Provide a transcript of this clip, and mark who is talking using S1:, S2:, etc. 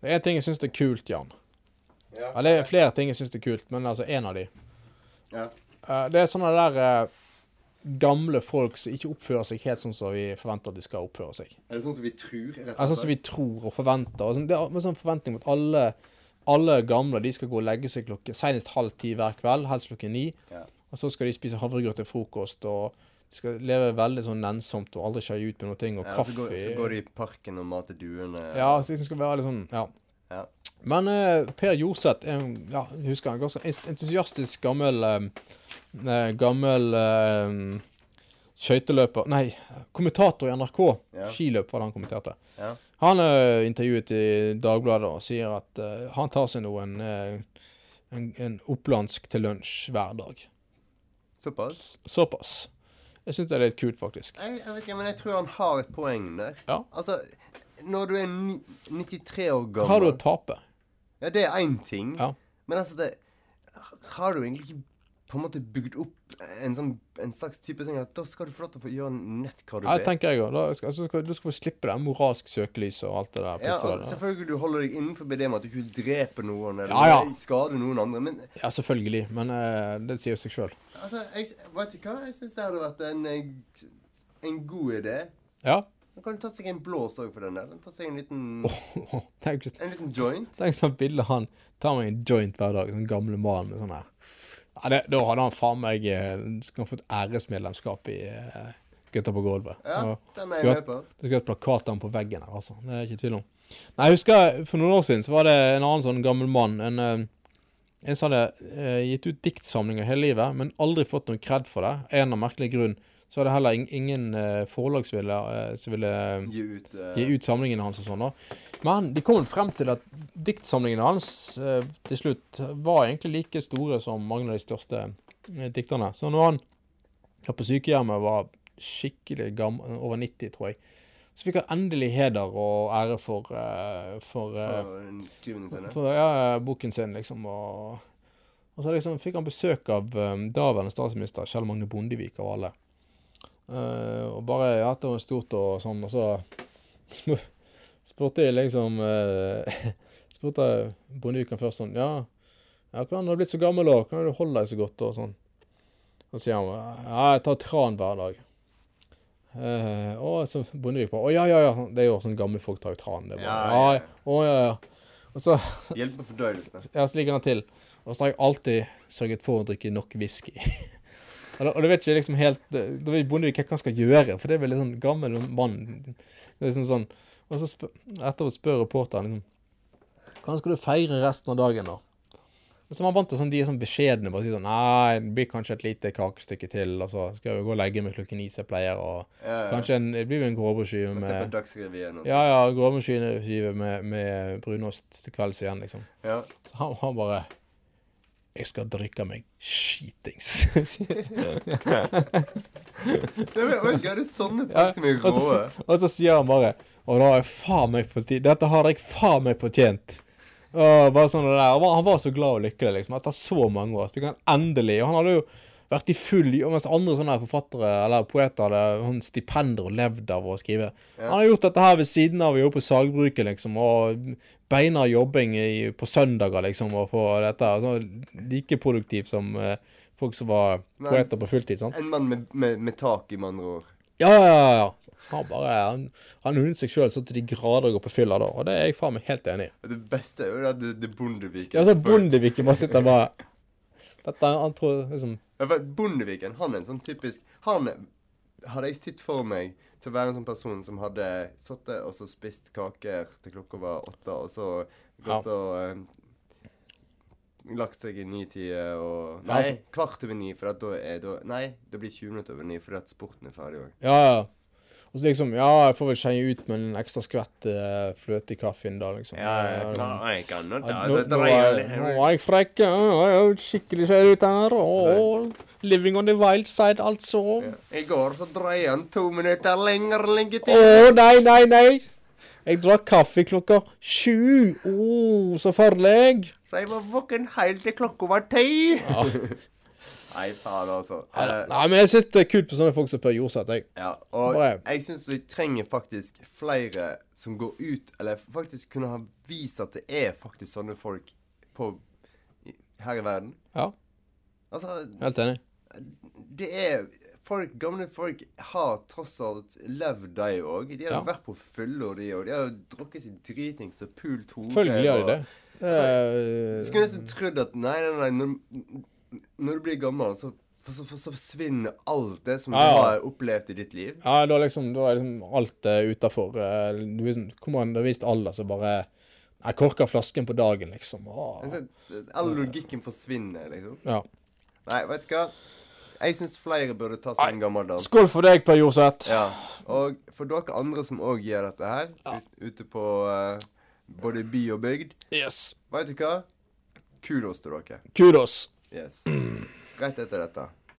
S1: Det er ting jeg syns er kult, Jan.
S2: Ja.
S1: Eller det er flere ting jeg syns er kult, men altså én av de.
S2: Ja.
S1: Eh, Det er sånne der eh, gamle folk som ikke oppfører seg helt sånn som vi forventer at de skal oppføre seg.
S2: Er det sånn som vi tror? Rett
S1: Eller sånn som vi tror og forventer. Og sånn, det er med sånn forventning om at alle, alle gamle de skal gå og legge seg klokken senest halv ti hver kveld, helst klokken ni.
S2: Ja.
S1: Og så skal de spise havregrøt til frokost, og de skal leve veldig sånn nennsomt og aldri skeie ut med noe ting, og
S2: ja,
S1: kaffe.
S2: Så går, så går de i parken og mater duene.
S1: Ja, så liksom skal være litt sånn, ja.
S2: Ja.
S1: Men eh, Per Jorseth er en, ja, jeg husker han, ganske ens- entusiastisk gammel eh, eh, gammel eh, skøyteløper Nei, kommentator i NRK.
S2: Ja.
S1: Skiløp var det han kommenterte.
S2: Ja.
S1: Han er intervjuet i Dagbladet og sier at eh, han tar seg noen eh, en, en opplandsk til lunsj hver dag.
S2: Såpass?
S1: Såpass. Jeg syns det er litt kult, faktisk.
S2: Jeg, jeg vet ikke, men jeg tror han har et poeng der.
S1: Ja.
S2: Altså, når du er ni, 93 år gammel
S1: Har du å tape?
S2: Ja, det er én ting.
S1: Ja.
S2: Men altså, det Har du egentlig ikke på en måte bygd opp en sånn en slags type sånn at da skal du få lov til å få gjøre nett hva du
S1: Ja, det
S2: vil?
S1: tenker jeg òg. Altså, du skal få slippe det moralsk søkelyset og alt det der.
S2: Ja,
S1: pisset
S2: altså,
S1: der.
S2: selvfølgelig du holder deg innenfor det med at du ikke dreper noen eller
S1: Ja, ja.
S2: skader noen andre, men
S1: Ja, selvfølgelig, men eh, det sier jo seg sjøl.
S2: altså, jeg, vet du hva? Jeg syns det hadde vært en, eh, en god idé.
S1: Ja.
S2: Man kan tatt seg en blås òg for den der. Tatt seg en liten,
S1: tenk,
S2: en liten joint.
S1: tenk sånn bilde han tar med en joint hver dag, sånn gamle mann med sånn her. Ja, det, da hadde han faen meg eh, Skulle han fått æresmedlemskap i eh, Gutta på gulvet.
S2: Ja,
S1: Og
S2: den er jeg
S1: skulle
S2: med
S1: hatt-
S2: på.
S1: skulle hatt plakat av han på veggen her, altså. Det er jeg ikke i tvil om. Nei, jeg husker for noen år siden så var det en annen sånn gammel mann. En, eh, en som hadde eh, gitt ut diktsamlinger hele livet, men aldri fått noen kred for det. En eller annen merkelig grunn. Så var det heller ing- ingen eh, forlag som ville, eh, som ville eh,
S2: Gi ut eh,
S1: gi ut samlingene hans og sånn. da. Men de kom frem til at diktsamlingene hans eh, til slutt var egentlig like store som mange av de største eh, dikterne. Så når han var på sykehjemmet, var skikkelig gammel, over 90, tror jeg, så fikk han endelig heder og ære for, eh, for, eh,
S2: for skrivene sine.
S1: for ja, boken sin, liksom. Og, og så liksom fikk han besøk av um, daværende statsminister Kjell Magne Bondevik av alle. Eh, og bare ja, det var stort og sånn, og så sp- spurte jeg liksom eh, Spurte jeg Bondeviken først sånn Ja, ja hvordan har du blitt så gammel, da? Hvordan har du holdt deg så godt? Og sånn. Så sier han ja, jeg tar tran hver dag. Eh, og så Bondevik bare Å ja, ja, ja. Det er jo sånn gamle folk tar jo tran. Det er bare,
S2: Ja, ja, ja.
S1: ja, Å ja, ja. Og så
S2: Hjelp med fordøyelsen.
S1: ja, så ligger han til. Og så har jeg alltid sørget for å drikke nok whisky. og, da, og du vet ikke liksom helt eh, Da vet Bondevik ikke hva han skal gjøre, for det er vel en sånn gammel mann. Det er liksom sånn. Og så spør, etterpå spør reporteren liksom Hvordan skal du feire resten av dagen, da? Og så er man vant til sånn, De er sånn beskjedne. bare sier sånn Nei, det blir kanskje et lite kakestykke til. og så skal jeg jo gå og legge meg klokken ni, som jeg pleier. Og
S2: Ja, ja.
S1: kanskje en, det blir jo en gråbrødskive
S2: Se på
S1: med
S2: Dagsrevyen og sånn.
S1: Ja, ja, gråbrødskive med, med brunost til kvelds igjen, liksom.
S2: Ja.
S1: Så han, han bare Jeg skal drikke meg skitings.
S2: Det er, oi, det er sånne folk
S1: Ja,
S2: som er
S1: og,
S2: råe.
S1: så, og så sier han bare Og da har jeg faen meg fortjent Dette har jeg faen meg fortjent. Og bare sånn og det der. Han var, han var så glad og lykkelig liksom, etter så mange år. Så fikk han endelig Og han hadde jo vært i full jobb, mens andre sånne her forfattere eller poeter hadde sånn stipender og levd av å skrive. Han har gjort dette her ved siden av å jobbe på sagbruket, liksom, og beina jobbing i, på søndager, liksom, og få dette her, sånn like produktivt som eh, folk som var
S2: Men-
S1: poeter på fulltid. sant?
S2: En mann med, med, med tak, i med andre ord.
S1: Ja, ja, ja. ja. Han bare, han, han unnet seg sjøl så til de grader går på fylla, da. Og det er jeg faen meg helt enig i.
S2: Og Det beste er jo det, det, det Bondeviken.
S1: Ja, altså, så Bondeviken bare sitter bare Dette er- han tror liksom
S2: Ja, for Bondeviken, han er en sånn typisk Han hadde jeg sett for meg til å være en sånn person som hadde sittet og så spist kaker til klokka var åtte, og så gått og eh, lagt seg i ni-tida og
S1: Ja,
S2: Nei,
S1: altså-
S2: kvart over ni, for at da er da Nei, det blir 20 minutter over ni, fordi at sporten er ferdig òg.
S1: Ja, ja. Og så liksom Ja, jeg får vel skjeie ut med en ekstra skvett eh, fløte i kaffen, da, liksom. Ja, liksom. Ja,
S2: altså,
S1: nå, nå, er, nå er jeg frekk. ja, ja, ja, Skikkelig skeiv ut her. og- living on the wild side, altså.
S2: I går så dreide han to minutter lengre
S1: Å,
S2: liggetid.
S1: nei, nei, nei. Jeg drakk kaffe klokka sju. Å, så farlig.
S2: Så jeg var våken helt til klokka var ti.
S1: Ja.
S2: Nei, faen, altså.
S1: Nei,
S2: Eh,
S1: Nei, men jeg syns det er kult på sånne folk som Per Jorseth. jeg.
S2: Ja, og
S1: Bare-
S2: jeg syns vi trenger faktisk flere som går ut, eller faktisk kunne ha vist at det er faktisk sånne folk på, i- her i verden.
S1: Ja,
S2: Altså,
S1: helt enig.
S2: det er folk, Gamle folk har tross alt levd, de òg. De har
S1: Ja.
S2: vært på fylla, de òg. De har drukket sin dritings og pult hodet.
S1: Selvfølgelig gjør de
S2: og-
S1: det.
S2: Du
S1: Eh,
S2: skulle nesten trodd at nei, nei, nei, når, når du blir gammel, så, så, så, så forsvinner alt det som
S1: Ja,
S2: du
S1: ja.
S2: har opplevd i ditt liv.
S1: Ja, da, liksom, da er liksom alt uh, utafor. Uh, kommer en visst alder, så bare Jeg korker flasken på dagen, liksom. Ah.
S2: Altså, All logikken forsvinner, liksom.
S1: Ja.
S2: Nei, vet du hva? Jeg syns flere burde ta seg en gammel dans.
S1: Skål for deg, Per Jorseth.
S2: Ja. Og for dere andre som òg gjør dette her, ut, ute på eh, både by og bygd,
S1: Yes.
S2: vet du hva? Kudos til dere.
S1: Kudos. Mm.
S2: Yes. Rett etter dette.